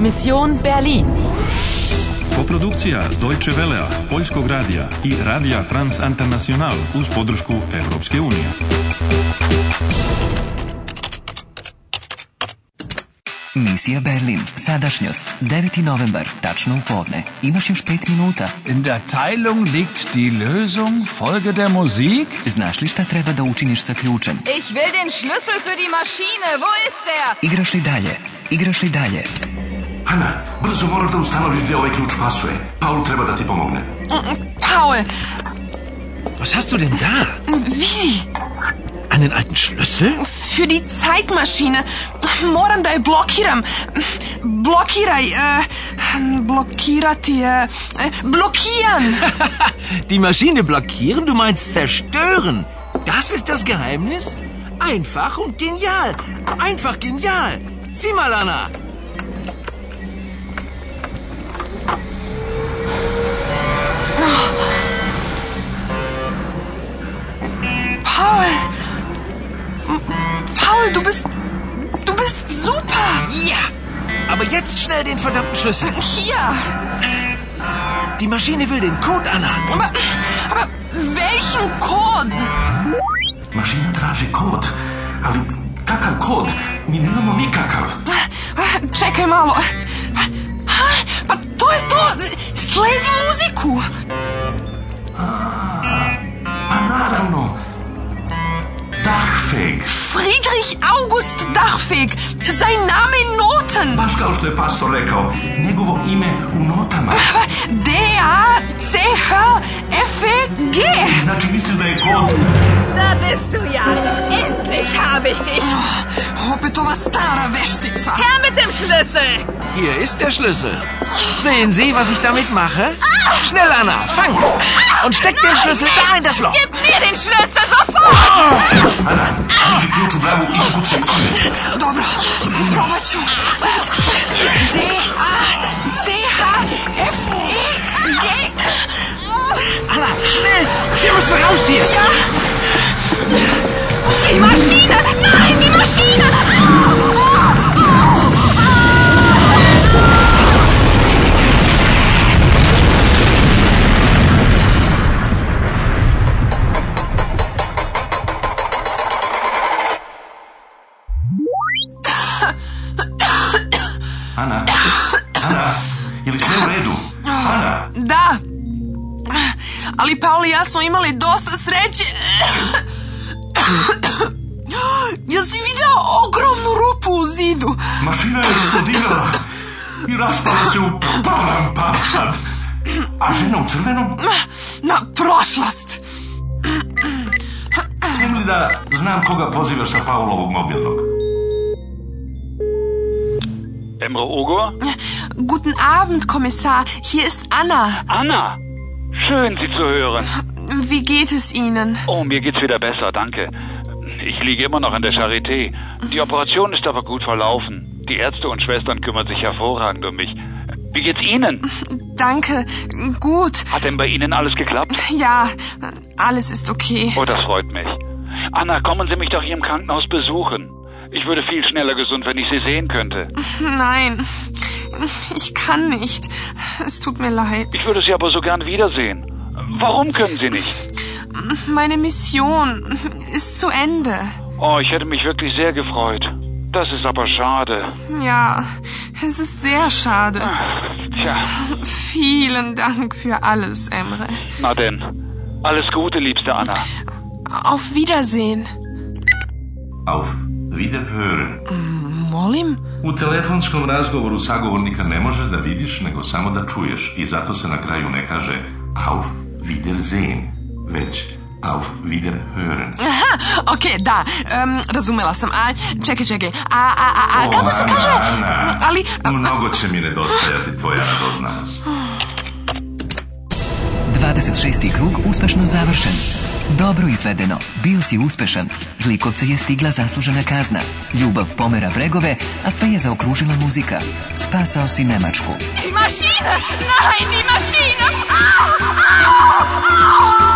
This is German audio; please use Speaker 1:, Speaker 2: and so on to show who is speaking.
Speaker 1: Mission Berlin.
Speaker 2: Koprodukcija Deutsche Velea, Poljskog radija i Radija France International uz podršku Europske unije.
Speaker 3: Misija Berlin. Sadašnjost. 9. novembar. Tačno u podne. Imaš još 5 minuta.
Speaker 4: In der Teilung liegt die Lösung. Folge der Musik.
Speaker 3: Znaš li šta treba da učiniš sa ključem?
Speaker 5: Ich will den Schlüssel für die Maschine. Wo ist der?
Speaker 3: Igraš li dalje? Igraš li dalje?
Speaker 6: Ana, brzo moraš da ustanoviš gdje ovaj ključ pasuje. Paul treba da ti pomogne.
Speaker 7: Paul,
Speaker 8: Was hast du denn da?
Speaker 7: wie?
Speaker 8: Einen alten Schlüssel?
Speaker 7: Für die Zeitmaschine. Moram da je blokiram. Blokiraj. E, blokirati je. E, blokiran.
Speaker 8: Die Maschine blockieren? Du meinst zerstören? Das ist das Geheimnis? Einfach und genial. Einfach genial. Sieh mal, Anna.
Speaker 7: Paul. M- Paul, du bist. Du bist super.
Speaker 8: Ja. Aber jetzt schnell den verdammten Schlüssel.
Speaker 7: Hier.
Speaker 8: Die Maschine will den Code, Anna.
Speaker 7: Aber, aber welchen Code?
Speaker 6: Mašina traži kod, ali kakav kod? Mi nemamo nikakav.
Speaker 7: Čekaj malo. Ha, Pa to je to. Sledi muziku.
Speaker 6: Pa naravno. Dachfeg.
Speaker 7: Friedrich August Dachfeg. Sein Name in Noten.
Speaker 6: Baš kao što je pastor rekao, njegovo ime u notama.
Speaker 7: D-A-C-H-F-E-G.
Speaker 6: Znači misli da je kod...
Speaker 5: Da bist du ja. Endlich habe ich dich.
Speaker 7: Oh, Opet ova stara veštica.
Speaker 5: Her mit dem Schlüssel.
Speaker 8: Hier ist der Schlüssel. Sehen Sie, was ich damit mache? Schnell, Anna, fang! Und steck den Schlüssel da in das Loch. Oh.
Speaker 5: Gib mir den Schlüssel sofort.
Speaker 6: Ana, uzmi ključ u glavu i kucaj kod.
Speaker 7: Dobro, probat ću. E D-A-C-H-F-E-G.
Speaker 8: Anna, schnell! Wir müssen raus hier!
Speaker 5: Die Maschine. Nein, die Maschine.
Speaker 6: Ana, Ana, je li sve u redu? Ana,
Speaker 7: Da. Ali Paul i ja smo imali dosta sreće. Jel si video ogromnu rupu u zidu?
Speaker 6: mašina je eksplodirala i raspala se u palan papad. A žena u crvenom?
Speaker 7: Na prošlost.
Speaker 6: Htjem li da znam koga pozivaš sa Paulovog mobilnog?
Speaker 9: Emre Ogur?
Speaker 7: Guten Abend, Kommissar. Hier ist Anna.
Speaker 9: Anna! Schön, Sie zu hören.
Speaker 7: Wie geht es Ihnen?
Speaker 9: Oh, mir geht's wieder besser, danke. Ich liege immer noch in der Charité. Die Operation ist aber gut verlaufen. Die Ärzte und Schwestern kümmern sich hervorragend um mich. Wie geht's Ihnen?
Speaker 7: Danke. Gut.
Speaker 9: Hat denn bei Ihnen alles geklappt?
Speaker 7: Ja, alles ist okay.
Speaker 9: Oh, das freut mich. Anna, kommen Sie mich doch hier im Krankenhaus besuchen. Ich würde viel schneller gesund, wenn ich Sie sehen könnte.
Speaker 7: Nein, ich kann nicht. Es tut mir leid.
Speaker 9: Ich würde Sie aber so gern wiedersehen. Warum können Sie nicht?
Speaker 7: Meine Mission ist zu Ende.
Speaker 9: Oh, ich hätte mich wirklich sehr gefreut. Das ist aber schade.
Speaker 7: Ja, es ist sehr schade.
Speaker 9: Tja.
Speaker 7: Vielen Dank für alles, Emre.
Speaker 9: Na denn, alles Gute, liebste Anna.
Speaker 7: Auf Wiedersehen.
Speaker 6: Auf Wiederhören.
Speaker 7: Molim?
Speaker 6: U telefonskom razgovoru sagovornika ne možeš da vidiš, nego samo da čuješ i zato se na kraju ne kaže auf Wiedersehen, već auf Wiederhören.
Speaker 7: Aha, okej, da, em, razumela sam. A, čekaj, čekaj, a, a, a, a kako se
Speaker 6: Ana,
Speaker 7: kaže?
Speaker 6: Ana,
Speaker 7: Ali,
Speaker 6: Mnogo će mi nedostajati tvoja radoznalost.
Speaker 3: 26. krug uspešno završen. Dobro izvedeno. Bio si uspešan. Zlikovce je stigla zaslužena kazna. Ljubav pomera bregove, a sve je zaokružila muzika. Spasao si Nemačku.
Speaker 5: Die Maschine. Nein, die Maschine. Au, au, au.